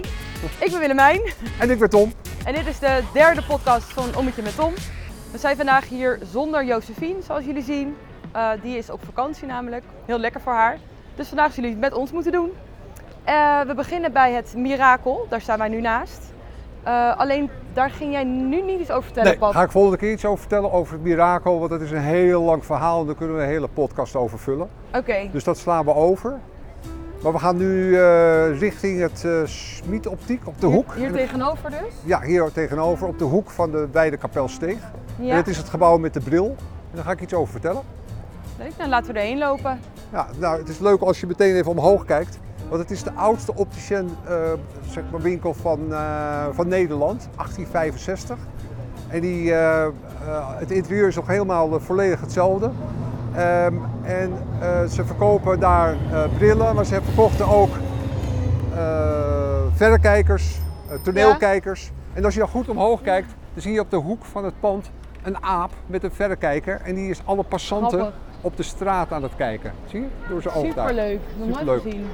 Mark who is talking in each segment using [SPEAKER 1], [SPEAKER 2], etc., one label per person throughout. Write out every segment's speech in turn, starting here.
[SPEAKER 1] Ik ben Willemijn
[SPEAKER 2] En ik ben Tom.
[SPEAKER 1] en dit is de derde podcast van Ommetje met Tom. We zijn vandaag hier zonder Josephine, zoals jullie zien. Eh, die is op vakantie namelijk, heel lekker voor haar. Dus vandaag zullen jullie het met ons moeten doen. Eh, we beginnen bij het mirakel, daar staan wij nu naast. Eh, alleen daar ging jij nu niet iets over vertellen,
[SPEAKER 2] Nee,
[SPEAKER 1] Pap.
[SPEAKER 2] ga ik volgende keer iets over vertellen over het mirakel, want dat is een heel lang verhaal en daar kunnen we een hele podcast over vullen.
[SPEAKER 1] Oké,
[SPEAKER 2] Dus dat slaan we over. Maar we gaan nu eh, richting het eh Schmied Optiek op de
[SPEAKER 1] hier-
[SPEAKER 2] hoek.
[SPEAKER 1] Hier, tegenover dus.
[SPEAKER 2] Ja, hier tegenover, op de hoek van de Beide Kapelsteeg. En
[SPEAKER 1] Ja,
[SPEAKER 2] dat is het gebouw met de bril. En daar ga ik iets over vertellen.
[SPEAKER 1] leuk. Dan laten we erheen lopen.
[SPEAKER 2] Ja, nou, het is leuk als je meteen even omhoog kijkt. Want het is de oudste opticien eh, zeg maar winkel van, eh, van Nederland, 1865. En die, eh, eh, het interieur is nog helemaal eh, volledig hetzelfde. Ehm, en eh, ze verkopen daar eh, brillen, maar ze verkochten ook eh, verrekijkers, eh, toneelkijkers. En als je dan goed omhoog kijkt, dan zie je op de hoek van het pand een aap met een verrekijker. En die is alle passanten
[SPEAKER 1] Grappig.
[SPEAKER 2] op de straat aan het kijken. Zie je? Door zijn oog Oh, daar.
[SPEAKER 1] Superleuk, nog nooit
[SPEAKER 2] Superleuk.
[SPEAKER 1] gezien.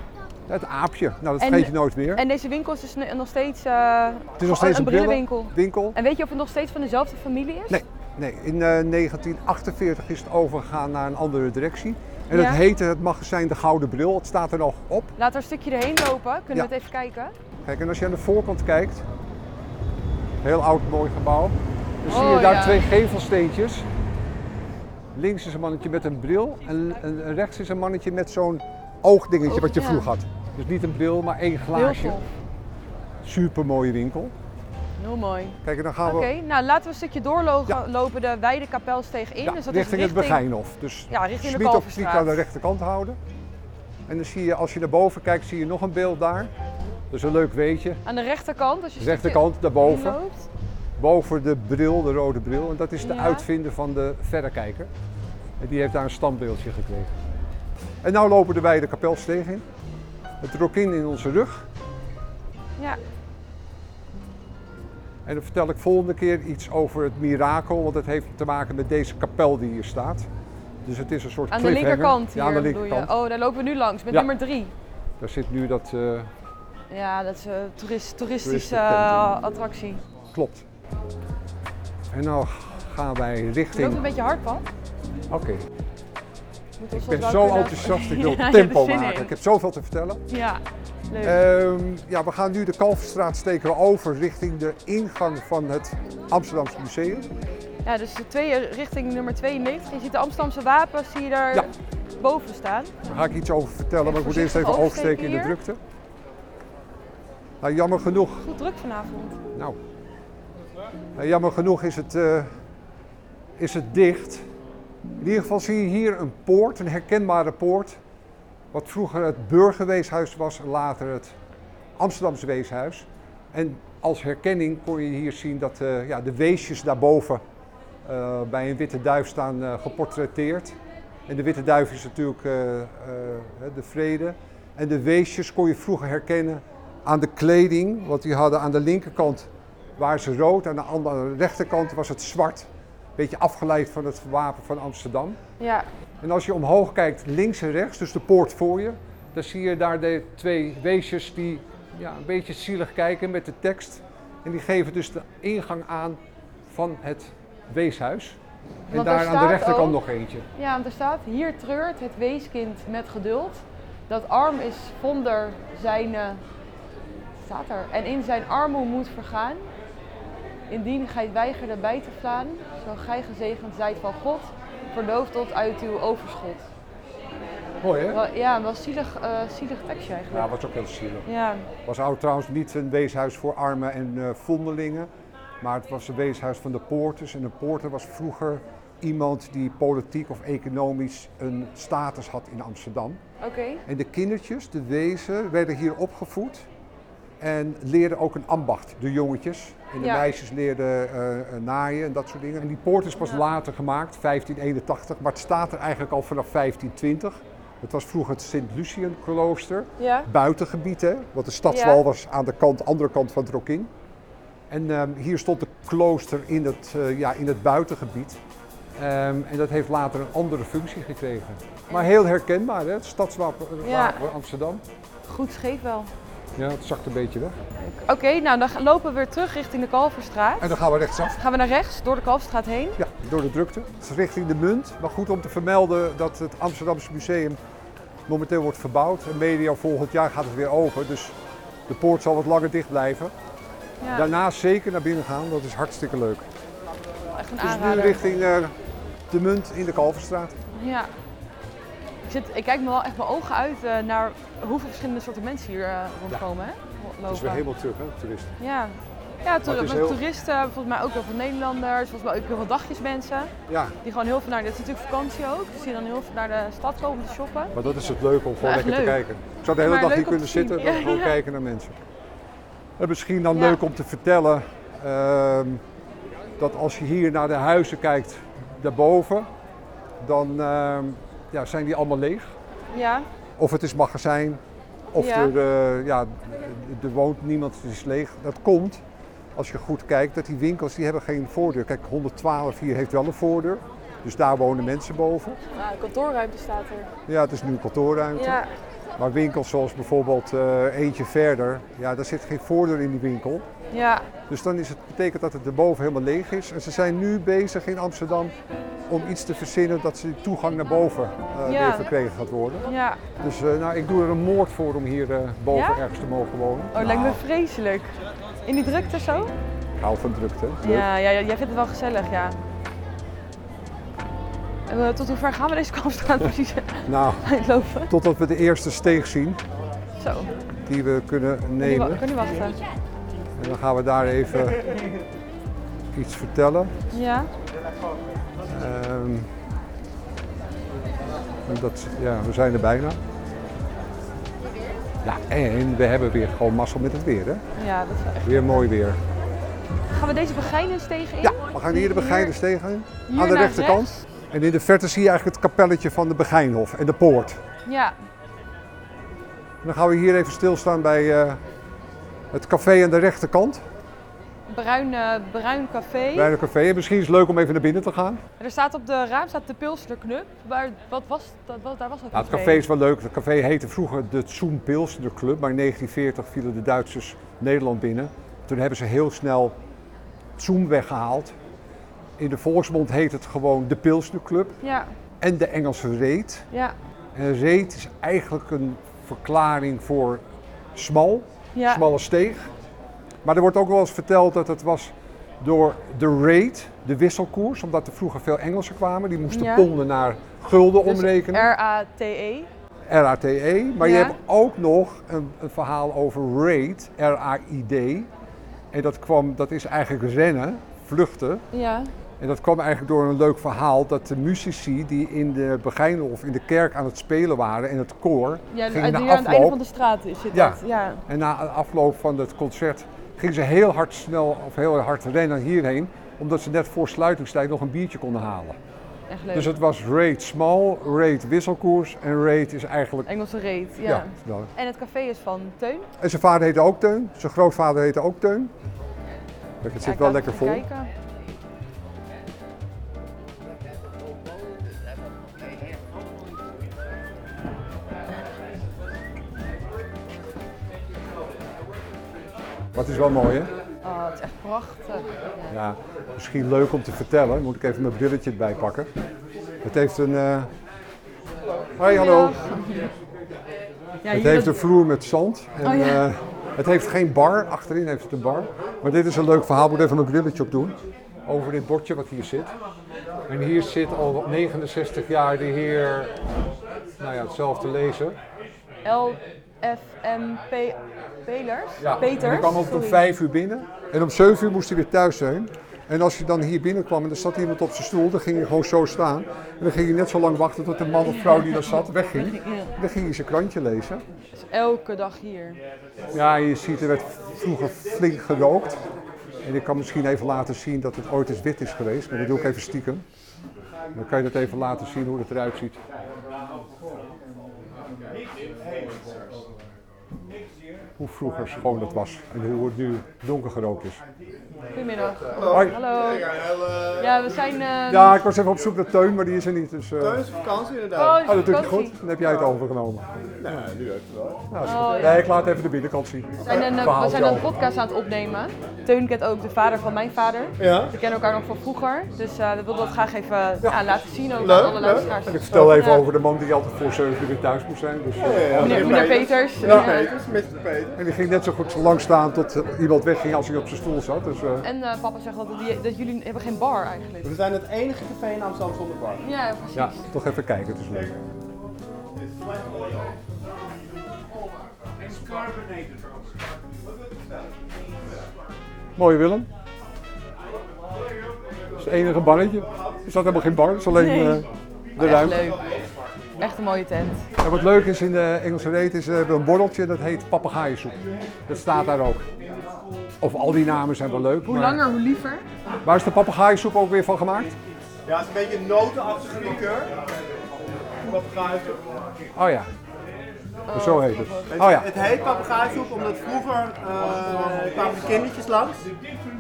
[SPEAKER 2] Het aapje. Nou, dat
[SPEAKER 1] En-
[SPEAKER 2] vergeet je nooit meer.
[SPEAKER 1] En deze winkel is dus nu- nog steeds, eh,
[SPEAKER 2] het is nog steeds
[SPEAKER 1] een
[SPEAKER 2] een,
[SPEAKER 1] brillenwinkel.
[SPEAKER 2] Winkel.
[SPEAKER 1] En weet je of het nog steeds van dezelfde familie is?
[SPEAKER 2] Nee, nee, in eh, 1948 is het overgegaan naar een andere directie. En
[SPEAKER 1] Ja.
[SPEAKER 2] het heette het magazijn De Gouden Bril. Het staat er nog op.
[SPEAKER 1] Laten we een stukje erheen lopen. Kunnen
[SPEAKER 2] Ja.
[SPEAKER 1] we het even kijken?
[SPEAKER 2] Kijk, en als je aan de voorkant kijkt, heel oud, mooi gebouw. Dan zie je
[SPEAKER 1] Oh,
[SPEAKER 2] daar
[SPEAKER 1] ja.
[SPEAKER 2] twee gevelsteentjes. Links is een mannetje met een bril en, en rechts is een mannetje met zo'n oogdingetje
[SPEAKER 1] Oog-
[SPEAKER 2] wat je
[SPEAKER 1] Oh, ja.
[SPEAKER 2] vroeg had. Dus niet een bril, maar één glaasje.
[SPEAKER 1] Heel tof.
[SPEAKER 2] Super mooie winkel.
[SPEAKER 1] Heel mooi.
[SPEAKER 2] Kijk, en dan gaan
[SPEAKER 1] Oké,
[SPEAKER 2] we
[SPEAKER 1] nou laten we een stukje doorlopen
[SPEAKER 2] Ja.
[SPEAKER 1] lopen de wijde kapelsteeg in.
[SPEAKER 2] ja,
[SPEAKER 1] dus dat
[SPEAKER 2] richting
[SPEAKER 1] is
[SPEAKER 2] het Begijnhof. Dus
[SPEAKER 1] Ja, richting de
[SPEAKER 2] Schmid op die aan de
[SPEAKER 1] Kalverstraat.
[SPEAKER 2] rechterkant houden. En dan zie je, als je naar boven kijkt, zie je nog een beeld daar. Dat is een leuk weetje.
[SPEAKER 1] Aan de rechterkant, als je een stukje
[SPEAKER 2] Rechterkant, daarboven.
[SPEAKER 1] inloopt.
[SPEAKER 2] boven de bril, de rode bril. En dat is de
[SPEAKER 1] Ja.
[SPEAKER 2] uitvinder van de verrekijker. En die heeft daar een standbeeldje gekregen. En nu lopen de wij de kapelsteeg in. Het rokin in onze rug.
[SPEAKER 1] Ja,
[SPEAKER 2] En dan vertel ik volgende keer iets over het mirakel, want dat heeft te maken met deze kapel die hier staat. Dus het is een soort
[SPEAKER 1] aan de
[SPEAKER 2] cliffhanger.
[SPEAKER 1] linkerkant hier
[SPEAKER 2] Ja, aan de
[SPEAKER 1] bedoel
[SPEAKER 2] linkerkant.
[SPEAKER 1] je. Oh, daar lopen we nu langs, met
[SPEAKER 2] Ja.
[SPEAKER 1] nummer drie.
[SPEAKER 2] Daar zit nu dat eh,
[SPEAKER 1] Ja, dat is een toerist, toeristische
[SPEAKER 2] Toeristentent, ja.
[SPEAKER 1] eh, attractie.
[SPEAKER 2] klopt. En nou gaan wij
[SPEAKER 1] Het loopt een
[SPEAKER 2] richting.
[SPEAKER 1] beetje hard, pad.
[SPEAKER 2] Oké, ik ben zo enthousiast. Ik wil tempo maken. Ik heb zoveel te vertellen.
[SPEAKER 1] Ja, leuk.
[SPEAKER 2] Ehm, ja, we gaan nu de Kalverstraat steken we over richting de ingang van het Amsterdamse Museum.
[SPEAKER 1] Ja, dus de twee, richting nummer 92. Je ziet de Amsterdamse wapens zie je daar
[SPEAKER 2] Ja.
[SPEAKER 1] boven staan.
[SPEAKER 2] Daar ga ik iets over vertellen, maar ik moet eerst
[SPEAKER 1] Voorzichtig
[SPEAKER 2] even
[SPEAKER 1] oversteken
[SPEAKER 2] oversteken in de
[SPEAKER 1] hier.
[SPEAKER 2] drukte. Nou, jammer genoeg.
[SPEAKER 1] Goed druk vanavond.
[SPEAKER 2] Nou, nou, jammer genoeg is het, eh, is het dicht. In ieder geval zie je hier een poort, een herkenbare poort. Wat vroeger het burgerweeshuis was, later het Amsterdamse weeshuis. En als herkenning kon je hier zien dat eh, ja, de weesjes daarboven eh, bij een witte duif staan eh, geportretteerd. En de witte duif is natuurlijk eh, eh, de vrede. En de weesjes kon je vroeger herkennen aan de kleding, want die hadden aan de linkerkant waren ze rood, aan de, andere, aan de rechterkant was het zwart. Beetje afgeleid van het wapen van Amsterdam.
[SPEAKER 1] Ja,
[SPEAKER 2] En als je omhoog kijkt, links en rechts, dus de poort voor je, dan zie je daar de twee weesjes die ja, een beetje zielig kijken met de tekst. En die geven dus de ingang aan van het weeshuis. En
[SPEAKER 1] Want
[SPEAKER 2] daar
[SPEAKER 1] er
[SPEAKER 2] aan de
[SPEAKER 1] staat
[SPEAKER 2] rechterkant
[SPEAKER 1] ook-
[SPEAKER 2] nog eentje.
[SPEAKER 1] ja want er staat, hier treurt het weeskind met geduld. Dat arm is vonder zijn, eh, staat er, en in zijn armoe moet vergaan. Indien gij weigerde bij te slaan, zo gij gezegend zijt van God, verloof tot uit uw overschot.
[SPEAKER 2] Mooi hè?
[SPEAKER 1] Wel- Ja, wel zielig, eh, zielig tekstje eigenlijk.
[SPEAKER 2] Ja, Nou, was ook heel zielig.
[SPEAKER 1] Ja,
[SPEAKER 2] was oud trouwens niet een weeshuis voor armen en eh, vondelingen. Maar het was een weeshuis van de poorters. En een poorter was vroeger iemand die politiek of economisch een status had in Amsterdam.
[SPEAKER 1] oké.
[SPEAKER 2] En de kindertjes, de wezen, werden hier opgevoed. En leerden ook een ambacht, de jongetjes. En de
[SPEAKER 1] Ja.
[SPEAKER 2] meisjes leerden eh, naaien en dat soort dingen. En die poort is pas
[SPEAKER 1] Ja.
[SPEAKER 2] later gemaakt, 1581. Maar het staat er eigenlijk al vanaf 1520. Het was vroeger het Sint-Lucien-klooster
[SPEAKER 1] Ja,
[SPEAKER 2] buitengebied, hè? want de stadswal
[SPEAKER 1] Ja.
[SPEAKER 2] was aan de kant, andere kant van het Rokin. En ehm, hier stond de klooster in het, eh, ja, in het buitengebied. Ehm, en dat heeft later een andere functie gekregen. Maar heel herkenbaar, hè? het stadswapen eh,
[SPEAKER 1] Ja.
[SPEAKER 2] wapen Amsterdam.
[SPEAKER 1] goed scheef wel.
[SPEAKER 2] Ja, het zakt een beetje weg.
[SPEAKER 1] Oké, nou dan gaan- lopen we weer terug richting de Kalverstraat.
[SPEAKER 2] En dan gaan we rechtsaf.
[SPEAKER 1] Gaan we naar rechts, door de Kalverstraat heen.
[SPEAKER 2] Ja, door de drukte. Het is richting de munt. Maar goed om te vermelden dat het Amsterdamse Museum momenteel wordt verbouwd. En medio volgend jaar gaat het weer open. Dus de poort zal wat langer dicht blijven.
[SPEAKER 1] Ja,
[SPEAKER 2] Daarna zeker naar binnen gaan, dat is hartstikke leuk.
[SPEAKER 1] echt een
[SPEAKER 2] Dus nu
[SPEAKER 1] aanrader.
[SPEAKER 2] richting eh, de munt in de Kalverstraat.
[SPEAKER 1] Ja. Ik, zit, ik kijk me wel echt mijn ogen uit eh, naar hoeveel verschillende soorten mensen hier eh, rondkomen. Hè? Lopen.
[SPEAKER 2] Het is weer helemaal terug, hè, toeristen.
[SPEAKER 1] Ja, ja
[SPEAKER 2] het
[SPEAKER 1] toer-
[SPEAKER 2] is
[SPEAKER 1] met
[SPEAKER 2] heel-
[SPEAKER 1] toeristen, volgens mij ook heel veel Nederlanders, volgens mij ook heel veel dagjesmensen.
[SPEAKER 2] Ja,
[SPEAKER 1] Die gewoon heel veel naar, dat is natuurlijk vakantie ook, dus die dan heel veel naar de stad komen te shoppen.
[SPEAKER 2] maar dat is het leuke om gewoon
[SPEAKER 1] Maar echt
[SPEAKER 2] lekker te
[SPEAKER 1] leuk.
[SPEAKER 2] kijken. Ik zou de hele
[SPEAKER 1] Maar
[SPEAKER 2] dag
[SPEAKER 1] leuk
[SPEAKER 2] hier
[SPEAKER 1] om
[SPEAKER 2] kunnen
[SPEAKER 1] te zien.
[SPEAKER 2] zitten en
[SPEAKER 1] Ja,
[SPEAKER 2] gewoon
[SPEAKER 1] ja.
[SPEAKER 2] kijken naar mensen. En misschien dan
[SPEAKER 1] Ja.
[SPEAKER 2] leuk om te vertellen ehm, dat als je hier naar de huizen kijkt daarboven, dan ehm, ja, zijn die allemaal leeg.
[SPEAKER 1] Ja,
[SPEAKER 2] Of het is magazijn, of
[SPEAKER 1] Ja.
[SPEAKER 2] er, eh, ja, er woont niemand, het is leeg. Dat komt, als je goed kijkt, dat die winkels die hebben geen voordeur. Kijk, 112 hier heeft wel een voordeur, dus daar wonen mensen boven.
[SPEAKER 1] nou, kantoorruimte staat er.
[SPEAKER 2] Ja, het is nu kantoorruimte.
[SPEAKER 1] Ja,
[SPEAKER 2] Maar winkels zoals bijvoorbeeld eh, eentje verder, ja, daar zit geen voordeur in die winkel.
[SPEAKER 1] ja.
[SPEAKER 2] Dus dan is het, betekent dat het erboven helemaal leeg is. En ze zijn nu bezig in Amsterdam om iets te verzinnen dat ze die toegang naar boven eh,
[SPEAKER 1] Ja.
[SPEAKER 2] weer verkregen gaat worden.
[SPEAKER 1] ja. Oh,
[SPEAKER 2] Dus eh, nou, ik doe er een moord voor om hier eh, boven
[SPEAKER 1] Ja?
[SPEAKER 2] ergens te mogen wonen.
[SPEAKER 1] Oh, lijkt
[SPEAKER 2] Nou.
[SPEAKER 1] me vreselijk. In die drukte zo?
[SPEAKER 2] Ik Nou, hou van drukte. Leuk.
[SPEAKER 1] Ja, ja, ja, jij vindt het wel gezellig, ja. En, eh, tot hoe ver gaan we deze kalfstraat precies
[SPEAKER 2] Nou,
[SPEAKER 1] uitlopen?
[SPEAKER 2] totdat we de eerste steeg zien
[SPEAKER 1] Zo,
[SPEAKER 2] die we kunnen
[SPEAKER 1] kan niet, wa-
[SPEAKER 2] nemen.
[SPEAKER 1] kan niet wachten.
[SPEAKER 2] En dan gaan we daar even iets vertellen.
[SPEAKER 1] Ja,
[SPEAKER 2] Ehm, en dat, ja, we zijn er bijna. Ja, en we hebben weer gewoon mazzel met het weer, hè?
[SPEAKER 1] ja, dat is wel echt.
[SPEAKER 2] Weer mooi weer.
[SPEAKER 1] Gaan we deze Begijnensteeg in?
[SPEAKER 2] Ja, we gaan hier de Begijnensteeg in.
[SPEAKER 1] Hier
[SPEAKER 2] Aan de
[SPEAKER 1] naar
[SPEAKER 2] rechterkant. En in de verte zie je eigenlijk het kapelletje van de Begijnhof en de poort.
[SPEAKER 1] Ja,
[SPEAKER 2] En dan gaan we hier even stilstaan bij eh, het café aan de rechterkant.
[SPEAKER 1] bruin, eh, bruin café.
[SPEAKER 2] Bij het café. En misschien is het leuk om even naar binnen te gaan.
[SPEAKER 1] En Er staat op de raam staat de Pilsner Knub. Waar, wat was dat? Wat, daar was dat
[SPEAKER 2] Ja, Nou, het café is wel leuk. Het café heette vroeger de Zoenpils, de club. Maar in 1940 vielen de Duitsers Nederland binnen. Toen hebben ze heel snel Zoen weggehaald. In de volksmond heet het gewoon de Pilsner Club
[SPEAKER 1] Ja,
[SPEAKER 2] en de Engelse reet.
[SPEAKER 1] ja,
[SPEAKER 2] En reet is eigenlijk een verklaring voor smal,
[SPEAKER 1] ja.
[SPEAKER 2] smalle steeg. Maar er wordt ook wel eens verteld dat het was door de reet, de wisselkoers. Omdat er vroeger veel Engelsen kwamen. Die moesten
[SPEAKER 1] Ja.
[SPEAKER 2] ponden naar gulden
[SPEAKER 1] Dus
[SPEAKER 2] omrekenen.
[SPEAKER 1] R-A-T-E.
[SPEAKER 2] RATE. E. Maar je
[SPEAKER 1] E. Ja.
[SPEAKER 2] hebt ook nog een, een verhaal over RAID, R-A-I-D. En dat, kwam, dat is eigenlijk rennen, vluchten.
[SPEAKER 1] Ja,
[SPEAKER 2] En dat kwam eigenlijk door een leuk verhaal dat de muzici die in de Begijnhof, in de kerk aan het spelen waren en het koor,
[SPEAKER 1] ja die
[SPEAKER 2] gingen
[SPEAKER 1] aan
[SPEAKER 2] na
[SPEAKER 1] het einde van
[SPEAKER 2] afloop.
[SPEAKER 1] de straat is zit
[SPEAKER 2] Ja.
[SPEAKER 1] dat. Ja.
[SPEAKER 2] En na afloop van het concert gingen ze heel hard snel of heel hard rennen hierheen, omdat ze net voor sluitingstijd nog een biertje konden halen.
[SPEAKER 1] Echt leuk.
[SPEAKER 2] Dus het was RAID small, RAID wisselkoers en RAID is eigenlijk.
[SPEAKER 1] Engelse reet, ja.
[SPEAKER 2] Ja, nou,
[SPEAKER 1] En het café is van Teun.
[SPEAKER 2] En zijn vader heette ook Teun, zijn grootvader heette ook Teun. Kijk, het
[SPEAKER 1] Ja,
[SPEAKER 2] zit
[SPEAKER 1] ik
[SPEAKER 2] wel
[SPEAKER 1] laat
[SPEAKER 2] lekker
[SPEAKER 1] even
[SPEAKER 2] vol.
[SPEAKER 1] kijken.
[SPEAKER 2] Maar het is wel mooi, hè?
[SPEAKER 1] Oh, het is echt prachtig.
[SPEAKER 2] Ja, misschien leuk om te vertellen. Moet ik even mijn brilletje erbij pakken. Het heeft een... eh, Hoi, hallo.
[SPEAKER 1] Ja,
[SPEAKER 2] Het
[SPEAKER 1] hier
[SPEAKER 2] heeft
[SPEAKER 1] dat-
[SPEAKER 2] een vloer met zand. En,
[SPEAKER 1] Oh, ja.
[SPEAKER 2] eh, het heeft geen bar, achterin heeft het een bar. Maar dit is een leuk verhaal, moet even mijn brilletje op doen. Over dit bordje wat hier zit. En hier zit al 69 jaar de heer, nou ja, hetzelfde lezer.
[SPEAKER 1] LFMP Pelers?
[SPEAKER 2] Ja, en
[SPEAKER 1] Peters?
[SPEAKER 2] die kwam ook om
[SPEAKER 1] sorry.
[SPEAKER 2] vijf uur binnen. En om zeven uur moest hij weer thuis zijn. En als je dan hier binnenkwam en er zat iemand op zijn stoel, dan ging hij gewoon zo staan. En dan ging hij net zo lang wachten tot de man of vrouw die daar zat wegging. En dan ging hij zijn krantje lezen.
[SPEAKER 1] Dus elke dag hier.
[SPEAKER 2] Ja, je ziet, er werd vroeger flink gerookt. En ik kan misschien even laten zien dat het ooit eens wit is geweest, maar dat doe ik even stiekem. Dan kan je dat even laten zien hoe het eruit ziet. Hoe vroeger schoon het was en hoe het nu donker gerookt is.
[SPEAKER 1] Goedemiddag.
[SPEAKER 2] Hoi.
[SPEAKER 1] Hallo.
[SPEAKER 3] Ja,
[SPEAKER 1] Ja, we zijn... eh,
[SPEAKER 2] Ja, ik was even op zoek naar Teun, maar die is er niet. Dus, eh
[SPEAKER 3] Thuis, vakantie
[SPEAKER 1] Oh,
[SPEAKER 3] inderdaad.
[SPEAKER 1] is
[SPEAKER 2] Oh, dat doet je
[SPEAKER 1] vakantie.
[SPEAKER 2] goed. Dan heb jij het overgenomen.
[SPEAKER 3] Nou, nu even wel.
[SPEAKER 2] Nou, is
[SPEAKER 1] Oh,
[SPEAKER 2] goed.
[SPEAKER 1] ja.
[SPEAKER 2] Nee, ik laat even de binnenkant zien.
[SPEAKER 1] We zijn, een, eh, we
[SPEAKER 2] Verhaaltje
[SPEAKER 1] zijn een
[SPEAKER 2] over.
[SPEAKER 1] podcast aan het opnemen. Teun kent ook de vader van mijn vader.
[SPEAKER 3] Ja?
[SPEAKER 1] We kennen elkaar nog van vroeger, dus eh, we wilden dat graag even ja, laten zien ook
[SPEAKER 3] Leuk,
[SPEAKER 1] aan alle
[SPEAKER 3] leuk.
[SPEAKER 1] luisteraars.
[SPEAKER 2] En ik vertel even
[SPEAKER 1] Ja.
[SPEAKER 2] over de man die altijd voor 7 uur weer thuis moest zijn. Dus, eh.
[SPEAKER 1] Meneer, meneer Peters.
[SPEAKER 3] Ja,
[SPEAKER 1] eh,
[SPEAKER 3] Peters, Mr. Peters.
[SPEAKER 2] En die ging net zo goed lang staan tot eh, iemand wegging als hij op zijn stoel zat. Dus, eh,
[SPEAKER 1] En eh, papa zegt altijd, die- dat jullie hebben geen bar eigenlijk.
[SPEAKER 3] We zijn het enige café in Amsterdam zonder bar.
[SPEAKER 1] Ja, precies.
[SPEAKER 2] ja, toch even kijken. Het is leuk. Mooi Willem. Dat is het enige barretje. Er staat helemaal geen bar, het is alleen
[SPEAKER 1] Nee.
[SPEAKER 2] eh, de
[SPEAKER 1] Echt
[SPEAKER 2] ruimte.
[SPEAKER 1] leuk. Echt een mooie tent.
[SPEAKER 2] En wat leuk is in de Engelse reet is, eh, we hebben een borreltje dat heet papegaaiensoep. Dat staat daar ook. Of al die namen zijn wel leuk.
[SPEAKER 1] Hoe
[SPEAKER 2] maar-
[SPEAKER 1] langer, hoe liever.
[SPEAKER 2] Waar is de papegaaiensoep ook weer van gemaakt?
[SPEAKER 3] Ja, het is een beetje notenachtige liqueur. Papegaaissoep.
[SPEAKER 2] Oh ja. Zo heet het.
[SPEAKER 3] Het-
[SPEAKER 2] Oh ja.
[SPEAKER 3] Het heet papegaaissoep omdat vroeger eh, kwamen de kindertjes langs.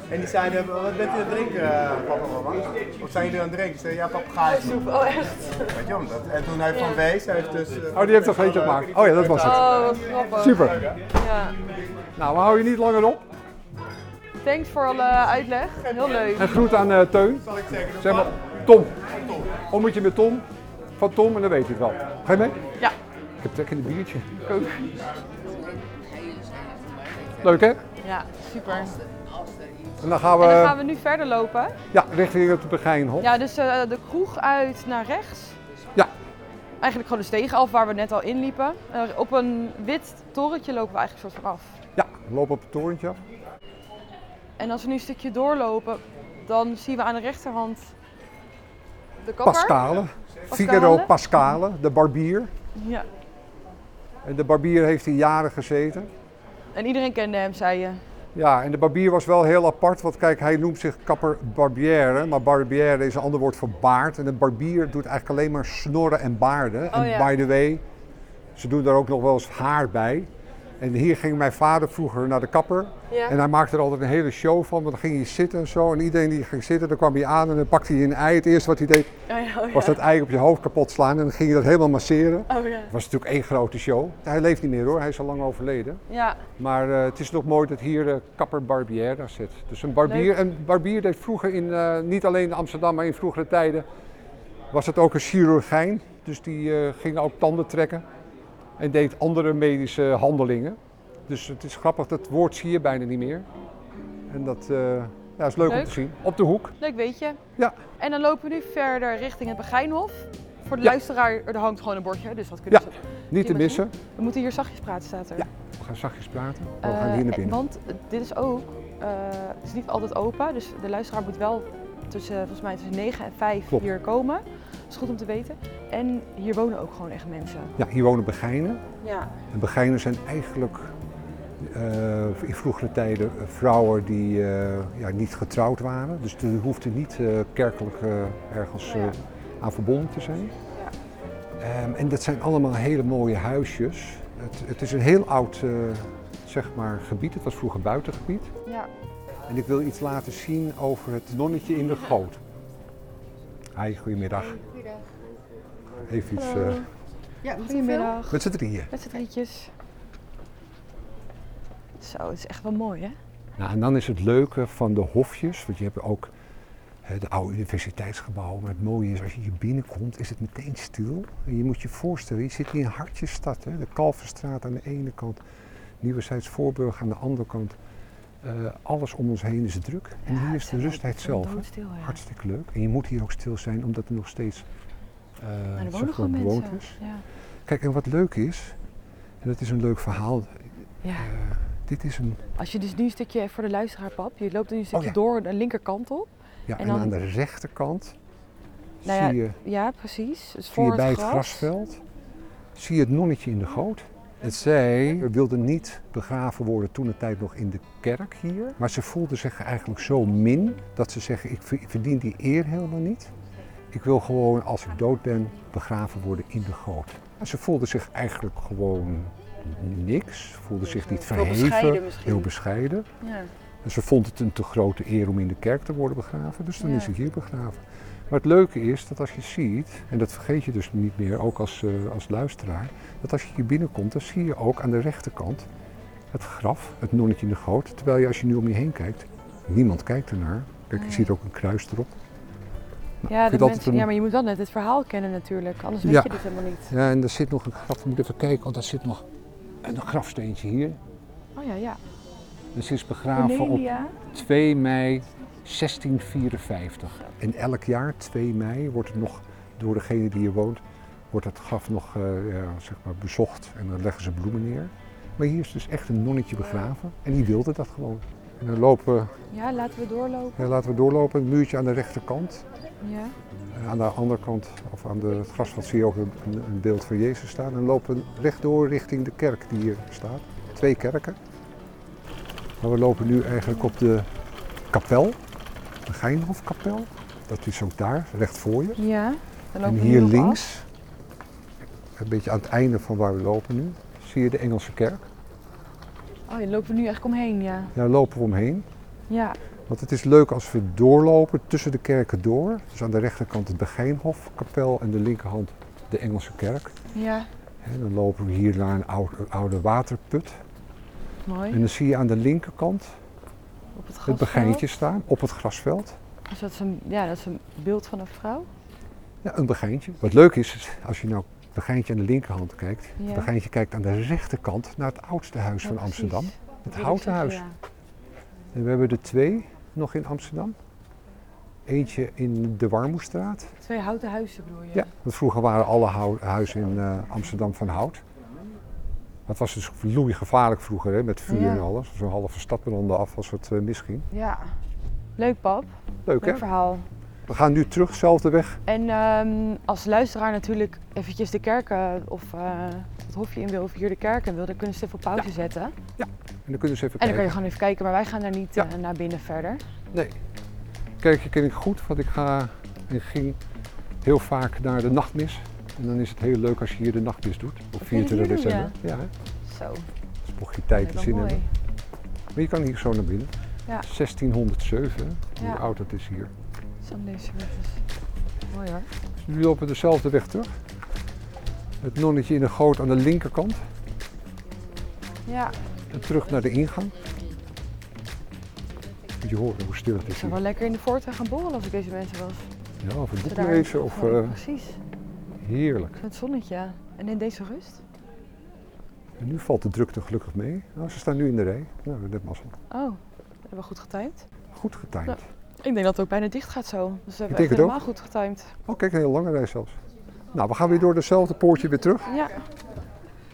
[SPEAKER 3] En die zeiden, wat bent u aan het drinken, eh, papa mama? Of zijn jullie aan het drinken? Ik zei, ja, papegaaissoep.
[SPEAKER 1] Oh, echt?
[SPEAKER 3] Weet je, omdat- En toen heeft Van Wees, heeft dus... eh,
[SPEAKER 2] Oh, die heeft toch eentje gemaakt? Oh ja, dat was het.
[SPEAKER 1] Oh, wat grappig.
[SPEAKER 2] Super.
[SPEAKER 1] Ja.
[SPEAKER 2] Nou, we houden je niet langer op.
[SPEAKER 1] Thanks voor alle uitleg. Heel leuk.
[SPEAKER 2] En groet aan eh, Teun.
[SPEAKER 3] Zal ik zeggen,
[SPEAKER 2] Zeg maar, Tom. Om moet je met Tom. Van Tom en dan weet je het wel. Ga je mee?
[SPEAKER 1] Ja.
[SPEAKER 2] Ik heb trek in een biertje.
[SPEAKER 1] Ik ook.
[SPEAKER 2] Leuk hè?
[SPEAKER 1] Ja, super.
[SPEAKER 2] Eh, En dan gaan we,
[SPEAKER 1] En dan gaan we nu verder lopen.
[SPEAKER 2] Ja, richting het Begijnhof.
[SPEAKER 1] Ja, dus eh, de kroeg uit naar rechts.
[SPEAKER 2] Ja.
[SPEAKER 1] Eigenlijk gewoon de steeg af waar we net al in liepen. Eh, op een wit torentje lopen we eigenlijk soort van af.
[SPEAKER 2] Ja, we lopen op het torentje af.
[SPEAKER 1] En als we nu een stukje doorlopen, dan zien we aan de rechterhand de kapper.
[SPEAKER 2] Pascale. Figaro Pascale, de barbier.
[SPEAKER 1] Ja.
[SPEAKER 2] En de barbier heeft hier jaren gezeten.
[SPEAKER 1] En iedereen kende hem, zei je.
[SPEAKER 2] Ja, en de barbier was wel heel apart, want kijk, hij noemt zich kapper barbière, maar barbière is een ander woord voor baard. En een barbier doet eigenlijk alleen maar snorren en baarden. en
[SPEAKER 1] Oh, ja.
[SPEAKER 2] by the way, ze doen daar ook nog wel eens haar bij. En hier ging mijn vader vroeger naar de kapper.
[SPEAKER 1] Ja.
[SPEAKER 2] En hij maakte er altijd een hele show van, want dan ging hij zitten en zo. En iedereen die ging zitten, dan kwam hij aan en dan pakte hij een ei. Het eerste wat hij deed,
[SPEAKER 1] Oh ja, oh ja.
[SPEAKER 2] was dat ei op je hoofd kapot slaan. En dan ging hij dat helemaal masseren.
[SPEAKER 1] Oh ja.
[SPEAKER 2] Het was natuurlijk één grote show. Hij leeft niet meer hoor, hij is al lang overleden.
[SPEAKER 1] Ja,
[SPEAKER 2] Maar eh, het is nog mooi dat hier eh, kapper barbier daar zit. Dus een barbier, een barbier deed vroeger in, eh, niet alleen in Amsterdam, maar in vroegere tijden was het ook een chirurgijn. Dus die eh, ging ook tanden trekken en deed andere medische handelingen. Dus het is grappig, dat woord zie je bijna niet meer. En dat eh, ja, is leuk,
[SPEAKER 1] Leuk.
[SPEAKER 2] om te zien. Op de hoek.
[SPEAKER 1] leuk weet je.
[SPEAKER 2] Ja.
[SPEAKER 1] En dan lopen we nu verder richting het Begijnhof. Voor de
[SPEAKER 2] Ja.
[SPEAKER 1] luisteraar, er hangt gewoon een bordje, dus dat kunnen
[SPEAKER 2] Ja.
[SPEAKER 1] ze.
[SPEAKER 2] Niet te
[SPEAKER 1] Hier
[SPEAKER 2] missen.
[SPEAKER 1] We moeten hier zachtjes praten, staat er.
[SPEAKER 2] Ja. We gaan zachtjes praten. Oh, We gaan
[SPEAKER 1] Eh,
[SPEAKER 2] hier naar binnen.
[SPEAKER 1] Want dit is ook, eh, het is niet altijd open, dus de luisteraar moet wel tussen, volgens mij tussen 9 en 5
[SPEAKER 2] Klopt.
[SPEAKER 1] hier komen. Dat is goed om te weten. En hier wonen ook gewoon echt mensen.
[SPEAKER 2] Ja, hier wonen Begijnen.
[SPEAKER 1] Ja.
[SPEAKER 2] En Begijnen zijn eigenlijk eh, in vroegere tijden vrouwen die eh, ja, niet getrouwd waren. Dus die hoefden niet eh, kerkelijk eh, ergens eh,
[SPEAKER 1] Ja.
[SPEAKER 2] aan verbonden te zijn. Ehm, en dat zijn allemaal hele mooie huisjes. Het, het is een heel oud eh, zeg maar, gebied. Het was vroeger buitengebied.
[SPEAKER 1] ja.
[SPEAKER 2] En ik wil iets laten zien over het nonnetje in de goot. Hi, goedemiddag. Even iets. eh
[SPEAKER 4] Ja, moet ik veel?
[SPEAKER 1] Goedemiddag.
[SPEAKER 2] met z'n drieën.
[SPEAKER 1] Met z'n drietjes. Zo, het is echt wel mooi hè?
[SPEAKER 2] Nou, en dan is het leuke van de hofjes, want je hebt ook hè, de oude universiteitsgebouwen. Maar het mooie is, als je hier binnenkomt, is het meteen stil. En je moet je voorstellen, je zit in een hartjesstad. Hè? De Kalverstraat aan de ene kant, Nieuwezijds Voorburg aan de andere kant. Eh, alles om ons heen is druk. En hier is de rustheid zelf. hè.
[SPEAKER 1] Stil, ja.
[SPEAKER 2] Hartstikke leuk. En je moet hier ook stil zijn, omdat er nog steeds eh
[SPEAKER 1] Maar Nou, er
[SPEAKER 2] zeg
[SPEAKER 1] wonen
[SPEAKER 2] maar,
[SPEAKER 1] gewoon
[SPEAKER 2] bewoond
[SPEAKER 1] mensen.
[SPEAKER 2] is.
[SPEAKER 1] Ja.
[SPEAKER 2] Kijk, en wat leuk is, en dat is een leuk verhaal.
[SPEAKER 1] Ja.
[SPEAKER 2] eh, dit is een...
[SPEAKER 1] Als je dus nu een stukje even voor de luisteraar pap, je loopt nu een stukje
[SPEAKER 2] Oh, ja.
[SPEAKER 1] door de linkerkant op.
[SPEAKER 2] Ja,
[SPEAKER 1] En
[SPEAKER 2] en,
[SPEAKER 1] dan-
[SPEAKER 2] aan de rechterkant
[SPEAKER 1] Nou ja,
[SPEAKER 2] zie je...
[SPEAKER 1] Ja, precies. Dus
[SPEAKER 2] Zie
[SPEAKER 1] voor
[SPEAKER 2] je bij het grasveld, zie je het nonnetje in de goot. En zij wilde niet begraven worden toen de tijd nog in de kerk hier. Maar ze voelde zich eigenlijk zo min dat ze zeggen, ik ver- ik verdien die eer helemaal niet. Ik wil gewoon als ik dood ben begraven worden in de goot. En ze voelde zich eigenlijk gewoon niks. Voelde zich niet verheven.
[SPEAKER 1] bescheiden misschien.
[SPEAKER 2] Heel bescheiden.
[SPEAKER 1] Ja.
[SPEAKER 2] En En ze vond het een te grote eer om in de kerk te worden begraven, dus dan
[SPEAKER 1] Ja.
[SPEAKER 2] is ze hier begraven. Maar het leuke is dat als je ziet, en dat vergeet je dus niet meer, ook als, eh, als luisteraar, dat als je hier binnenkomt, dan zie je ook aan de rechterkant het graf, het nonnetje in de goot. Terwijl je als je nu om je heen kijkt, niemand kijkt ernaar. Kijk, je ziet ook een kruis erop. Nou,
[SPEAKER 1] Ja,
[SPEAKER 2] ik vind
[SPEAKER 1] de
[SPEAKER 2] het altijd
[SPEAKER 1] mensen,
[SPEAKER 2] een-
[SPEAKER 1] ja, maar je moet wel net het verhaal kennen natuurlijk, anders
[SPEAKER 2] Ja.
[SPEAKER 1] weet je dit helemaal niet.
[SPEAKER 2] Ja, en er zit nog een graf, moet even kijken, want er zit nog een grafsteentje hier.
[SPEAKER 1] Oh ja, ja.
[SPEAKER 2] En ze Dus is begraven op
[SPEAKER 1] Cornelia.
[SPEAKER 2] 2 mei 1654. En elk jaar, 2 mei, wordt het nog door degene die hier woont, wordt het graf nog eh, ja, zeg maar bezocht en dan leggen ze bloemen neer. Maar hier is dus echt een nonnetje begraven en die wilde dat gewoon. En dan lopen, we-
[SPEAKER 1] Ja, laten we doorlopen.
[SPEAKER 2] ja, laten we doorlopen, een muurtje aan de rechterkant.
[SPEAKER 1] Ja.
[SPEAKER 2] En Eh, aan de andere kant, of aan de, het grasveld, zie je ook een, een beeld van Jezus staan. En lopen rechtdoor richting de kerk die hier staat. Twee kerken. Maar we lopen nu eigenlijk op de kapel, de Geinhofkapel. Dat is ook daar, recht voor je.
[SPEAKER 1] Ja. Dan
[SPEAKER 2] En
[SPEAKER 1] lopen we
[SPEAKER 2] hier
[SPEAKER 1] nog
[SPEAKER 2] links, een beetje aan het einde van waar we lopen nu, zie je de Engelse kerk.
[SPEAKER 1] af. Oh, je loopt er nu echt omheen, ja.
[SPEAKER 2] Daar lopen we omheen.
[SPEAKER 1] Ja.
[SPEAKER 2] Want het is leuk als we doorlopen tussen de kerken door. Dus aan de rechterkant het Begijnhofkapel en de linkerhand de Engelse kerk.
[SPEAKER 1] Ja.
[SPEAKER 2] En dan lopen we hier naar een oude, oude waterput. En
[SPEAKER 1] Mooi.
[SPEAKER 2] dan zie je aan de linkerkant
[SPEAKER 1] Op het
[SPEAKER 2] het
[SPEAKER 1] grasveld.
[SPEAKER 2] begijntje staan op het grasveld.
[SPEAKER 1] Dus dat is een, ja, dat is een beeld van een vrouw.
[SPEAKER 2] Ja, een begijntje. Wat leuk is, is als je nou het begijntje aan de linkerhand kijkt.
[SPEAKER 1] Ja.
[SPEAKER 2] Het begijntje kijkt aan de rechterkant naar het oudste huis
[SPEAKER 1] Ja,
[SPEAKER 2] van
[SPEAKER 1] Oh, precies.
[SPEAKER 2] Amsterdam.
[SPEAKER 1] Dat
[SPEAKER 2] Het
[SPEAKER 1] wil ik
[SPEAKER 2] houten
[SPEAKER 1] zeggen,
[SPEAKER 2] huis.
[SPEAKER 1] ja.
[SPEAKER 2] En we hebben er twee nog in Amsterdam. Eentje in de Warmoestraat.
[SPEAKER 1] Twee houten huizen bedoel je?
[SPEAKER 2] Ja, want vroeger waren alle hou- huizen in eh, Amsterdam van hout. Dat was dus gevaarlijk vroeger, hè, met vuur
[SPEAKER 1] Ja.
[SPEAKER 2] en alles. Zo'n halve stad brandde af als het eh, misging.
[SPEAKER 1] Ja. Leuk pap,
[SPEAKER 2] Leuk hè?
[SPEAKER 1] leuk verhaal.
[SPEAKER 2] We gaan nu terug, zelfde weg.
[SPEAKER 1] En ehm, als luisteraar natuurlijk eventjes de kerken of eh, het hofje in wil of hier de kerken wil, dan kunnen ze even op pauze zetten. En
[SPEAKER 2] En dan kunnen ze even
[SPEAKER 1] dan kan je
[SPEAKER 2] kijken.
[SPEAKER 1] gewoon even kijken, maar wij gaan daar niet
[SPEAKER 2] Ja.
[SPEAKER 1] eh, naar binnen verder.
[SPEAKER 2] Nee. Kerkje ken ik goed, want ik ga en ging heel vaak naar de nachtmis. En dan is het heel leuk als je hier de nachtmis doet. Op
[SPEAKER 1] kun je
[SPEAKER 2] 24
[SPEAKER 1] hier doen,
[SPEAKER 2] december. Ja, hè?
[SPEAKER 1] Zo,
[SPEAKER 2] dus mocht je tijd en
[SPEAKER 1] dat
[SPEAKER 2] zin hebben.
[SPEAKER 1] mooi.
[SPEAKER 2] Maar je kan hier zo naar binnen.
[SPEAKER 1] Ja.
[SPEAKER 2] 1607, hè? hoe
[SPEAKER 1] Ja.
[SPEAKER 2] oud dat is hier.
[SPEAKER 1] Zo deze weg is mooi hoor.
[SPEAKER 2] Dus nu lopen we dezelfde weg terug. Het nonnetje in de goot aan de linkerkant.
[SPEAKER 1] Ja,
[SPEAKER 2] En terug naar de ingang. Moet je horen hoe stil het
[SPEAKER 1] ik
[SPEAKER 2] is
[SPEAKER 1] zou
[SPEAKER 2] hier.
[SPEAKER 1] wel lekker in de voortuin gaan borrelen als ik deze mensen was.
[SPEAKER 2] Ja, of een
[SPEAKER 1] Ze
[SPEAKER 2] boek
[SPEAKER 1] daar- Oh.
[SPEAKER 2] lezen of
[SPEAKER 1] Ja,
[SPEAKER 2] eh,
[SPEAKER 1] Precies,
[SPEAKER 2] heerlijk.
[SPEAKER 1] met zonnetje. En in deze rust.
[SPEAKER 2] En nu valt de drukte gelukkig mee. Nou, ze staan nu in de rij. Nou, dat was al
[SPEAKER 1] Oh, dat hebben we goed getimed.
[SPEAKER 2] goed getimed.
[SPEAKER 1] Ik denk dat het ook bijna dicht gaat zo. Dus we hebben
[SPEAKER 2] denk
[SPEAKER 1] echt
[SPEAKER 2] het ook.
[SPEAKER 1] helemaal goed getimed.
[SPEAKER 2] Oh, kijk, een heel lange rij zelfs. Nou, we gaan weer door dezelfde poortje weer terug.
[SPEAKER 1] Ja,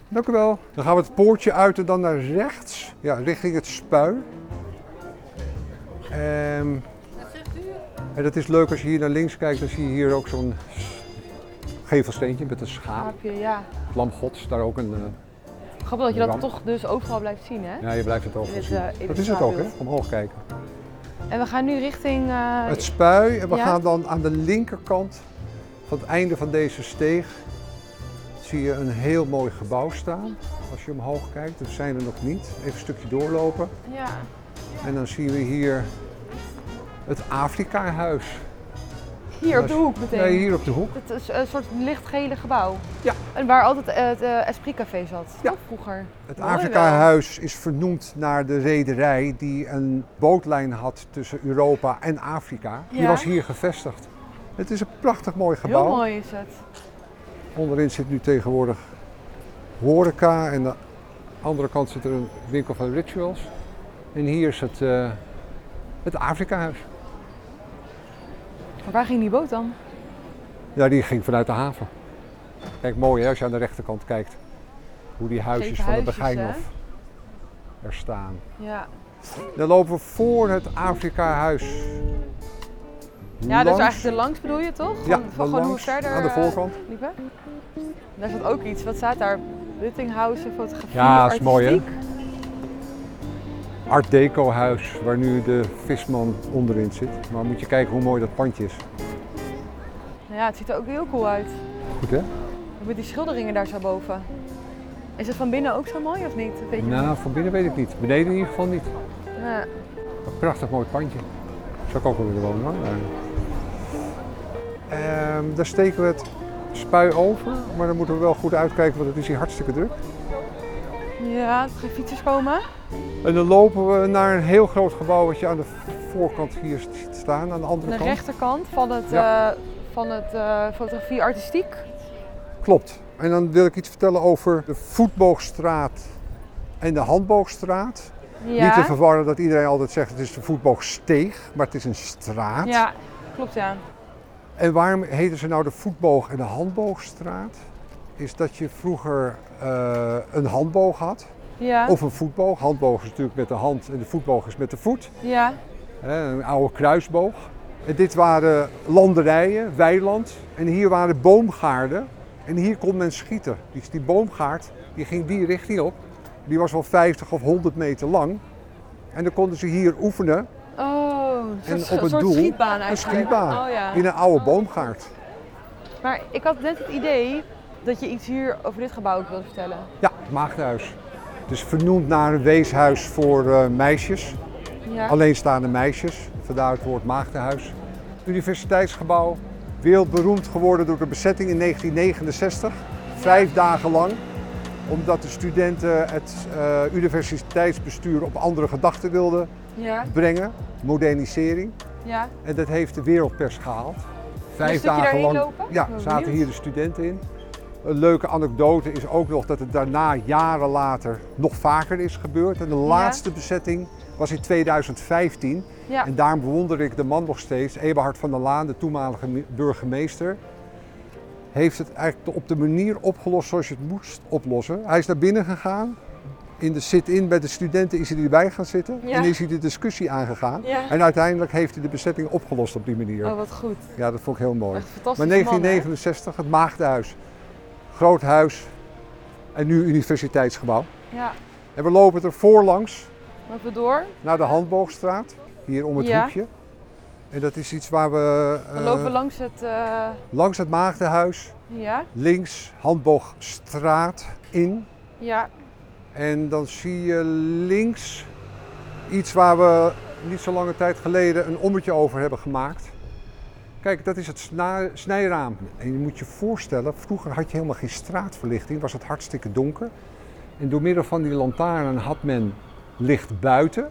[SPEAKER 2] Dank u wel. Dan gaan we het poortje uit en dan naar rechts. Ja, richting het spui. Ehm, en dat is leuk als je hier naar links kijkt. Dan zie je hier ook zo'n gevelsteentje met een schaap.
[SPEAKER 1] aapje, ja.
[SPEAKER 2] Het Lam gods, daar ook een... eh,
[SPEAKER 1] Grappig dat je dat
[SPEAKER 2] Ram.
[SPEAKER 1] toch dus overal blijft zien, hè?
[SPEAKER 2] ja, je blijft het overal
[SPEAKER 1] Dit,
[SPEAKER 2] zien.
[SPEAKER 1] eh, in
[SPEAKER 2] dat
[SPEAKER 1] het
[SPEAKER 2] is het ook, hè?
[SPEAKER 1] schaapbeeld.
[SPEAKER 2] Omhoog kijken.
[SPEAKER 1] En we gaan nu richting... eh,
[SPEAKER 2] Het spui en we
[SPEAKER 1] Ja.
[SPEAKER 2] gaan dan aan de linkerkant van het einde van deze steeg zie je een heel mooi gebouw staan. Als je omhoog kijkt, we zijn er nog niet. Even een stukje doorlopen
[SPEAKER 1] Ja,
[SPEAKER 2] en dan zien we hier het Afrika-huis.
[SPEAKER 1] hier op
[SPEAKER 2] Als-
[SPEAKER 1] de hoek meteen.
[SPEAKER 2] Nee, hier op de hoek.
[SPEAKER 1] Het is een soort lichtgele gebouw.
[SPEAKER 2] Ja.
[SPEAKER 1] En waar altijd eh, het eh, Esprit Café zat,
[SPEAKER 2] Ja.
[SPEAKER 1] toch? Vroeger.
[SPEAKER 2] Het
[SPEAKER 1] Mooi wel.
[SPEAKER 2] Afrika-huis is vernoemd naar de rederij die een bootlijn had tussen Europa en Afrika. Die
[SPEAKER 1] Ja.
[SPEAKER 2] was hier gevestigd. Het is een prachtig mooi gebouw.
[SPEAKER 1] Heel mooi is het.
[SPEAKER 2] Onderin zit nu tegenwoordig horeca en aan de andere kant zit er een winkel van rituals. En hier is het, eh, het Afrika-huis.
[SPEAKER 1] Maar waar ging die boot dan?
[SPEAKER 2] Ja, die ging vanuit de haven. Kijk, mooi hè, als je aan de rechterkant kijkt. Hoe die huisjes
[SPEAKER 1] Gekke
[SPEAKER 2] van de
[SPEAKER 1] huisjes,
[SPEAKER 2] Begijnhof er staan.
[SPEAKER 1] Ja.
[SPEAKER 2] Dan lopen we voor het Afrika-huis.
[SPEAKER 1] Ja, dus
[SPEAKER 2] Langs-
[SPEAKER 1] eigenlijk er langs bedoel je toch?
[SPEAKER 2] Ja,
[SPEAKER 1] Gewoon- van gewoon hoe we
[SPEAKER 2] langs,
[SPEAKER 1] verder
[SPEAKER 2] aan de
[SPEAKER 1] eh,
[SPEAKER 2] voorkant.
[SPEAKER 1] liepen. Daar zat ook iets. Wat staat daar? Buttinghausen, fotografie,
[SPEAKER 2] Ja, dat is mooi, hè?
[SPEAKER 1] artistiek. Nou
[SPEAKER 2] Art Deco-huis, waar nu de visman onderin zit. Maar moet je kijken hoe mooi dat pandje is.
[SPEAKER 1] Nou Ja, het ziet er ook heel cool uit.
[SPEAKER 2] Goed hè?
[SPEAKER 1] Ook Met die schilderingen daar zo boven. Is het van binnen ook zo mooi of niet? Dat Weet je
[SPEAKER 2] Nou, van binnen weet ik niet. Beneden in ieder geval niet.
[SPEAKER 1] niet. Ja.
[SPEAKER 2] Een prachtig mooi pandje. Zou ik ook wel willen wonen hoor. maar- Ehm, daar steken we het spui over, maar dan moeten we wel goed uitkijken, want het is hier hartstikke druk.
[SPEAKER 1] Ja, er gaan fietsers komen.
[SPEAKER 2] En dan lopen we naar een heel groot gebouw wat je aan de voorkant hier ziet staan, aan de andere
[SPEAKER 1] Aan de
[SPEAKER 2] kant.
[SPEAKER 1] rechterkant van het,
[SPEAKER 2] Ja.
[SPEAKER 1] eh, van het eh, fotografie artistiek.
[SPEAKER 2] Klopt. En dan wil ik iets vertellen over de voetboogstraat en de handboogstraat. Niet te verwarren dat iedereen altijd zegt het is de voetboogsteeg, maar het is een straat.
[SPEAKER 1] ja, klopt ja.
[SPEAKER 2] En waarom heten ze nou de voetboog- en de handboogstraat? Is dat je vroeger eh, een handboog had
[SPEAKER 1] Ja,
[SPEAKER 2] of een voetboog. Handboog is natuurlijk met de hand en de voetboog is met de voet.
[SPEAKER 1] ja.
[SPEAKER 2] Hè, een oude kruisboog. En dit waren landerijen, weiland. En hier waren boomgaarden. En hier kon men schieten. Dus die boomgaard die ging die richting op. Die was wel 50 of 100 meter lang. En dan konden ze hier oefenen
[SPEAKER 1] Oh, een
[SPEAKER 2] En
[SPEAKER 1] soort,
[SPEAKER 2] op het
[SPEAKER 1] soort
[SPEAKER 2] doel
[SPEAKER 1] schietbaan
[SPEAKER 2] een
[SPEAKER 1] eigenlijk.
[SPEAKER 2] schietbaan
[SPEAKER 1] Oh, ja.
[SPEAKER 2] in een oude boomgaard.
[SPEAKER 1] Maar ik had net het idee dat je iets hier over dit gebouw ook wilde vertellen.
[SPEAKER 2] Ja, maagdenhuis. Het is vernoemd naar een weeshuis voor eh, meisjes.
[SPEAKER 1] Ja.
[SPEAKER 2] alleenstaande meisjes, vandaar het woord maagdenhuis. Universiteitsgebouw, wereldberoemd geworden door de bezetting in 1969, vijf dagen lang, omdat de studenten het eh, universiteitsbestuur op andere gedachten wilden
[SPEAKER 1] Ja,
[SPEAKER 2] brengen, modernisering.
[SPEAKER 1] ja.
[SPEAKER 2] En dat heeft de wereldpers gehaald. Vijf
[SPEAKER 1] stukje
[SPEAKER 2] dagen
[SPEAKER 1] daarheen
[SPEAKER 2] lang
[SPEAKER 1] lopen?
[SPEAKER 2] Ja,
[SPEAKER 1] Ik ben
[SPEAKER 2] zaten
[SPEAKER 1] benieuwd.
[SPEAKER 2] hier de studenten in. Een leuke anekdote is ook nog dat het daarna, jaren later, nog vaker is gebeurd. En de laatste bezetting was in 2015.
[SPEAKER 1] ja.
[SPEAKER 2] En daarom bewonder ik de man nog steeds, Eberhard van der Laan, de toenmalige mi- burgemeester. Heeft het eigenlijk op de manier opgelost zoals je het moest oplossen. Hij is naar binnen gegaan. In de sit-in bij de studenten is hij erbij gaan zitten.
[SPEAKER 1] Ja.
[SPEAKER 2] En is hij de discussie aangegaan.
[SPEAKER 1] Ja.
[SPEAKER 2] En uiteindelijk heeft hij de bezetting opgelost op die manier.
[SPEAKER 1] Oh, wat goed.
[SPEAKER 2] Ja, dat vond ik heel mooi.
[SPEAKER 1] Echt fantastisch.
[SPEAKER 2] Maar 1969, het Maagdenhuis. Groot huis. En nu universiteitsgebouw.
[SPEAKER 1] Ja,
[SPEAKER 2] En we lopen er voorlangs
[SPEAKER 1] lopen we door.
[SPEAKER 2] naar de Handboogstraat. Hier om het
[SPEAKER 1] Ja.
[SPEAKER 2] hoekje. En dat is iets waar we
[SPEAKER 1] Dan
[SPEAKER 2] eh,
[SPEAKER 1] lopen we langs het... eh,
[SPEAKER 2] langs het Maagdenhuis,
[SPEAKER 1] ja,
[SPEAKER 2] links Handboogstraat in.
[SPEAKER 1] ja.
[SPEAKER 2] En dan zie je links iets waar we niet zo lange tijd geleden een ommetje over hebben gemaakt. Kijk, dat is het sna- snijraam. En je moet je voorstellen, vroeger had je helemaal geen straatverlichting, was het hartstikke donker. En door middel van die lantaarn had men licht buiten,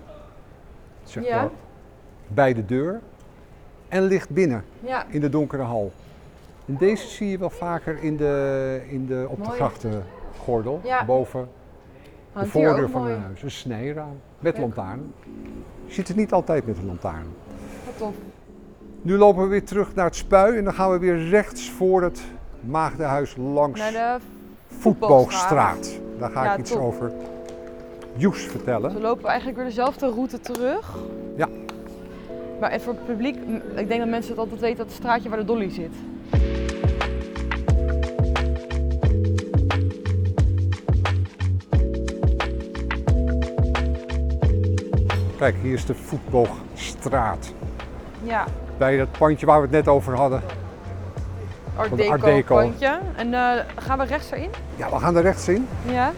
[SPEAKER 2] zeg
[SPEAKER 1] Ja.
[SPEAKER 2] maar, bij de deur, en licht binnen
[SPEAKER 1] Ja,
[SPEAKER 2] in de donkere hal. En deze zie je wel vaker in de, in de, op de
[SPEAKER 1] Mooi.
[SPEAKER 2] grachtengordel,
[SPEAKER 1] Ja.
[SPEAKER 2] boven de
[SPEAKER 1] hangt hier
[SPEAKER 2] voordeur
[SPEAKER 1] ook
[SPEAKER 2] van
[SPEAKER 1] mooi.
[SPEAKER 2] een huis, een snijraam met
[SPEAKER 1] Ja.
[SPEAKER 2] lantaarn. Je ziet het niet altijd met een lantaarn.
[SPEAKER 1] Wat tof.
[SPEAKER 2] Nu lopen we weer terug naar het spui en dan gaan we weer rechts voor het Maagdenhuis langs
[SPEAKER 1] Naar de,
[SPEAKER 2] Voetboogstraat. Daar ga
[SPEAKER 1] Ja,
[SPEAKER 2] ik iets
[SPEAKER 1] top.
[SPEAKER 2] over Joes vertellen.
[SPEAKER 1] we lopen eigenlijk weer dezelfde route terug.
[SPEAKER 2] Ja.
[SPEAKER 1] Maar en voor het publiek, m, ik denk dat mensen het altijd weten, dat het straatje waar de dolly zit.
[SPEAKER 2] Kijk, hier is de Voetboogstraat.
[SPEAKER 1] Ja,
[SPEAKER 2] Bij dat pandje waar we het net over hadden.
[SPEAKER 1] Art
[SPEAKER 2] Van de
[SPEAKER 1] Deco,
[SPEAKER 2] Art Deco.
[SPEAKER 1] pandje. En eh, gaan we rechts erin?
[SPEAKER 2] Ja, we gaan er rechts in.
[SPEAKER 1] Ja.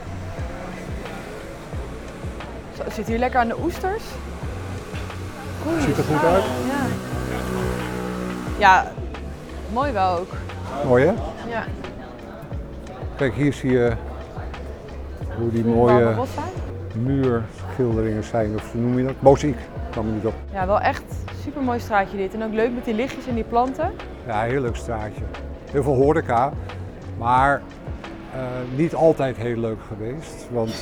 [SPEAKER 1] Zo, het zit hier lekker aan de oesters. Oei.
[SPEAKER 2] Ziet er goed uit.
[SPEAKER 1] Ja. ja, mooi wel ook.
[SPEAKER 2] Mooi hè?
[SPEAKER 1] Ja.
[SPEAKER 2] Kijk, hier zie je hoe die
[SPEAKER 1] Mooie.
[SPEAKER 2] mooie muurschilderingen zijn. Of hoe noem je dat? Mozaïek. Kwam er niet op.
[SPEAKER 1] Ja, wel echt super mooi straatje dit. En ook leuk met die lichtjes en die planten.
[SPEAKER 2] Ja, heel leuk straatje. Heel veel horeca, maar eh, niet altijd heel leuk geweest. Want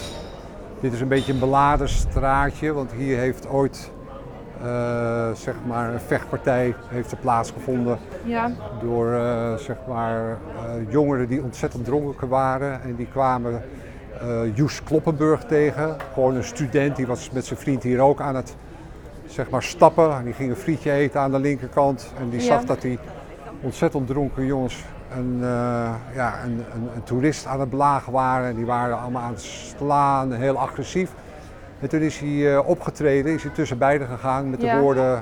[SPEAKER 2] dit is een beetje een beladen straatje, want hier heeft ooit eh, zeg maar een vechtpartij heeft er plaatsgevonden
[SPEAKER 1] Ja,
[SPEAKER 2] door eh, zeg maar, eh, jongeren die ontzettend dronken waren. En die kwamen eh Joes Kloppenburg tegen. Gewoon een student, die was met zijn vriend hier ook aan het zeg maar, stappen. En die ging een frietje eten aan de linkerkant. En die
[SPEAKER 1] Ja.
[SPEAKER 2] zag dat die ontzettend dronken jongens een, eh, ja, een, een, een toerist aan het belagen waren. En die waren allemaal aan het slaan, heel agressief. En toen is hij eh, opgetreden, is hij tussen beiden gegaan met
[SPEAKER 1] Ja.
[SPEAKER 2] de woorden eh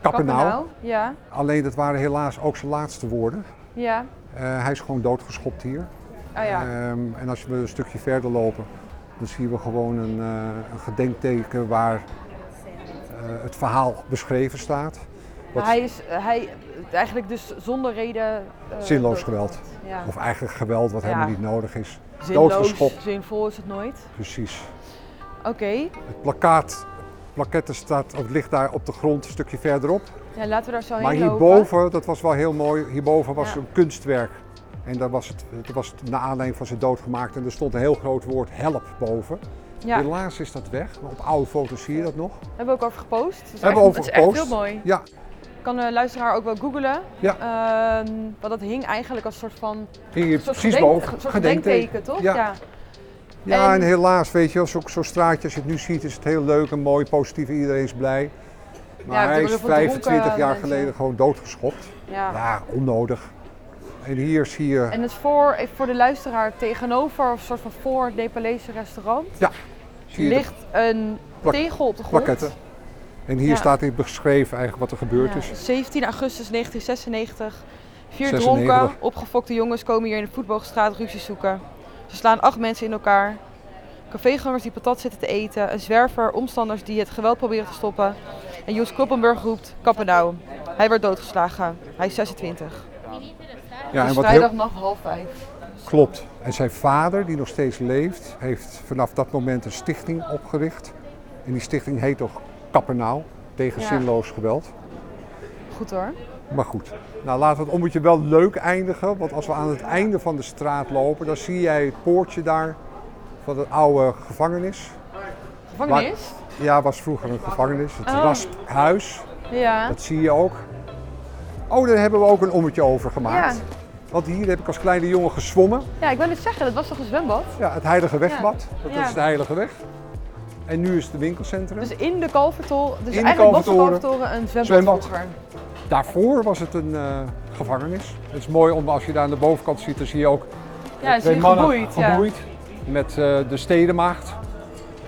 [SPEAKER 2] kappen nou.
[SPEAKER 1] Pappenau. Ja,
[SPEAKER 2] Alleen dat waren helaas ook zijn laatste woorden.
[SPEAKER 1] ja.
[SPEAKER 2] Eh, hij is gewoon doodgeschopt hier.
[SPEAKER 1] Ah ja.
[SPEAKER 2] Ehm, en als we een stukje verder lopen, dan zien we gewoon een, eh, een gedenkteken waar eh, het verhaal beschreven staat. Wat
[SPEAKER 1] Hij is eh, hij, eigenlijk dus zonder reden... eh,
[SPEAKER 2] zinloos
[SPEAKER 1] dood-
[SPEAKER 2] geweld.
[SPEAKER 1] Ja.
[SPEAKER 2] Of eigenlijk geweld wat helemaal
[SPEAKER 1] Ja.
[SPEAKER 2] niet nodig is.
[SPEAKER 1] Zinloos,
[SPEAKER 2] doodgeschopt.
[SPEAKER 1] zinvol is het nooit.
[SPEAKER 2] Precies.
[SPEAKER 1] Oké,
[SPEAKER 2] Het plakkaat, plakketten staat, of het ligt daar op de grond een stukje verderop.
[SPEAKER 1] ja, laten we daar zo
[SPEAKER 2] Maar
[SPEAKER 1] heen Oh, lopen.
[SPEAKER 2] hierboven, dat was wel heel mooi, hierboven was
[SPEAKER 1] Ja.
[SPEAKER 2] een kunstwerk. En daar was het, het was het naar aanleiding van zijn dood gemaakt. En er stond een heel groot woord help boven.
[SPEAKER 1] Ja, daar
[SPEAKER 2] Helaas is dat weg, maar op oude foto's zie je dat nog.
[SPEAKER 1] hebben we ook over gepost. Het is
[SPEAKER 2] Hebben
[SPEAKER 1] echt-
[SPEAKER 2] we over
[SPEAKER 1] Het is echt heel
[SPEAKER 2] gepost.
[SPEAKER 1] mooi.
[SPEAKER 2] Ja,
[SPEAKER 1] Kan de luisteraar ook wel googlen.
[SPEAKER 2] Ja.
[SPEAKER 1] Ehm, want dat hing eigenlijk als een soort van...
[SPEAKER 2] hier
[SPEAKER 1] een soort
[SPEAKER 2] precies
[SPEAKER 1] gedenk-
[SPEAKER 2] boven.
[SPEAKER 1] een soort
[SPEAKER 2] Gedenkteken.
[SPEAKER 1] gedenkteken, toch?
[SPEAKER 2] Ja. Ja, en
[SPEAKER 1] En-
[SPEAKER 2] helaas, weet je, wel, zo- zo'n straatje als je het nu ziet, is het heel leuk en mooi, positief, iedereen is blij. Maar
[SPEAKER 1] Ja,
[SPEAKER 2] hij
[SPEAKER 1] er
[SPEAKER 2] is
[SPEAKER 1] worden dronken
[SPEAKER 2] 25 jaar
[SPEAKER 1] mensen.
[SPEAKER 2] geleden gewoon doodgeschopt.
[SPEAKER 1] Ja.
[SPEAKER 2] Ja, onnodig. En hier zie je,
[SPEAKER 1] Ah. En het voor, eh, voor de luisteraar tegenover, of een soort van voor het Nepalese restaurant,
[SPEAKER 2] zie je de
[SPEAKER 1] ligt een
[SPEAKER 2] plak-
[SPEAKER 1] tegel op de grond.
[SPEAKER 2] plakketten. En hier
[SPEAKER 1] Ja.
[SPEAKER 2] staat hier beschreven eigenlijk wat er gebeurd
[SPEAKER 1] Ja,
[SPEAKER 2] is.
[SPEAKER 1] 17 augustus 1996. Vier
[SPEAKER 2] 96.
[SPEAKER 1] dronken, opgefokte jongens komen hier in de voetbalstraat ruzie zoeken. Ze slaan acht mensen in elkaar. Cafégangers die patat zitten te eten. Een zwerver, omstanders die het geweld proberen te stoppen. En Joes Kloppenburg roept, kappen nou. Hij werd doodgeslagen. Hij is 26.
[SPEAKER 2] Ja,
[SPEAKER 1] het
[SPEAKER 2] en
[SPEAKER 1] is
[SPEAKER 2] wat heel,
[SPEAKER 1] vrijdagnacht half vijf.
[SPEAKER 2] klopt. En zijn vader, die nog steeds leeft, heeft vanaf dat moment een stichting opgericht. En die stichting heet toch Kappernaal, tegen
[SPEAKER 1] Ja.
[SPEAKER 2] zinloos geweld.
[SPEAKER 1] Goed hoor.
[SPEAKER 2] Maar goed, nou laten we het ommetje wel leuk eindigen. Want als we aan het einde van de straat lopen, dan zie jij het poortje daar van de oude gevangenis.
[SPEAKER 1] Gevangenis?
[SPEAKER 2] Ja, was vroeger een gevangenis. Het
[SPEAKER 1] Oh.
[SPEAKER 2] rasphuis,
[SPEAKER 1] Ja.
[SPEAKER 2] dat zie je ook. Oh, daar hebben we ook een ommetje over gemaakt.
[SPEAKER 1] Ja.
[SPEAKER 2] Want hier heb ik als kleine jongen gezwommen.
[SPEAKER 1] Ja, ik wil het zeggen, dat was toch een zwembad?
[SPEAKER 2] Ja, het Heilige Wegbad. Dat
[SPEAKER 1] Ja.
[SPEAKER 2] is de Heilige Weg. En nu is het de winkelcentrum.
[SPEAKER 1] Dus in de Kalvertoren, dus
[SPEAKER 2] de
[SPEAKER 1] eigenlijk was de
[SPEAKER 2] Kalvertoren.
[SPEAKER 1] Kalvertoren een zwembad,
[SPEAKER 2] Zwembad.
[SPEAKER 1] vroeger.
[SPEAKER 2] Daarvoor was het een eh, gevangenis. Het is mooi om als je daar aan de bovenkant ziet, dan zie je ook
[SPEAKER 1] Ja, het is
[SPEAKER 2] Twee
[SPEAKER 1] nu
[SPEAKER 2] mannen
[SPEAKER 1] geboeid. ja.
[SPEAKER 2] geboeid met eh, de stedenmaagd.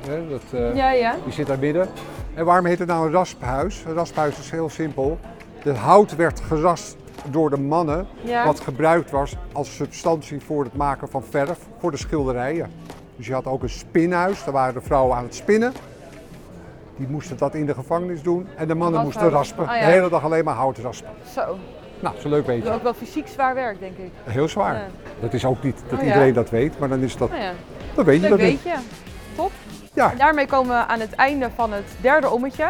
[SPEAKER 2] Hè, dat, eh,
[SPEAKER 1] Ja, ja.
[SPEAKER 2] Die zit daar midden. En waarom heet het nou een rasphuis? Een rasphuis is heel simpel. Het hout werd gerast door de mannen,
[SPEAKER 1] Ja.
[SPEAKER 2] wat gebruikt was als substantie voor het maken van verf voor de schilderijen. Dus je had ook een spinhuis, daar waren de vrouwen aan het spinnen. Die moesten dat in de gevangenis doen en de mannen moesten
[SPEAKER 1] Rashout.
[SPEAKER 2] raspen.
[SPEAKER 1] Ah, ja.
[SPEAKER 2] De hele dag alleen maar hout raspen.
[SPEAKER 1] Zo.
[SPEAKER 2] Nou, zo leuk
[SPEAKER 1] Dat
[SPEAKER 2] beetje.
[SPEAKER 1] is ook wel fysiek zwaar werk, denk ik.
[SPEAKER 2] Heel zwaar.
[SPEAKER 1] Ja.
[SPEAKER 2] Dat is ook niet dat
[SPEAKER 1] Oh, ja.
[SPEAKER 2] iedereen dat weet, maar dan is dat,
[SPEAKER 1] Nou ja,
[SPEAKER 2] dan weet je
[SPEAKER 1] leuk
[SPEAKER 2] dat niet.
[SPEAKER 1] weetje. Top.
[SPEAKER 2] Ja.
[SPEAKER 1] En daarmee komen we aan het einde van het derde ommetje.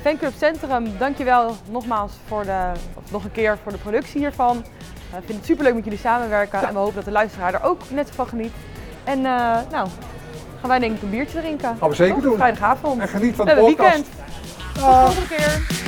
[SPEAKER 1] Fanclub Centrum, dankjewel nogmaals voor de, of nog een keer voor de productie hiervan. Eh, Ik vind het superleuk met jullie samenwerken en we hopen dat de luisteraar er ook net zo van geniet. En eh, nou, gaan wij denk ik een biertje drinken.
[SPEAKER 2] Gaan we zeker
[SPEAKER 1] Toch?
[SPEAKER 2] doen.
[SPEAKER 1] Vrijdagavond.
[SPEAKER 2] En geniet van
[SPEAKER 1] We
[SPEAKER 2] de
[SPEAKER 1] hebben
[SPEAKER 2] podcast.
[SPEAKER 1] weekend. Tot de volgende keer.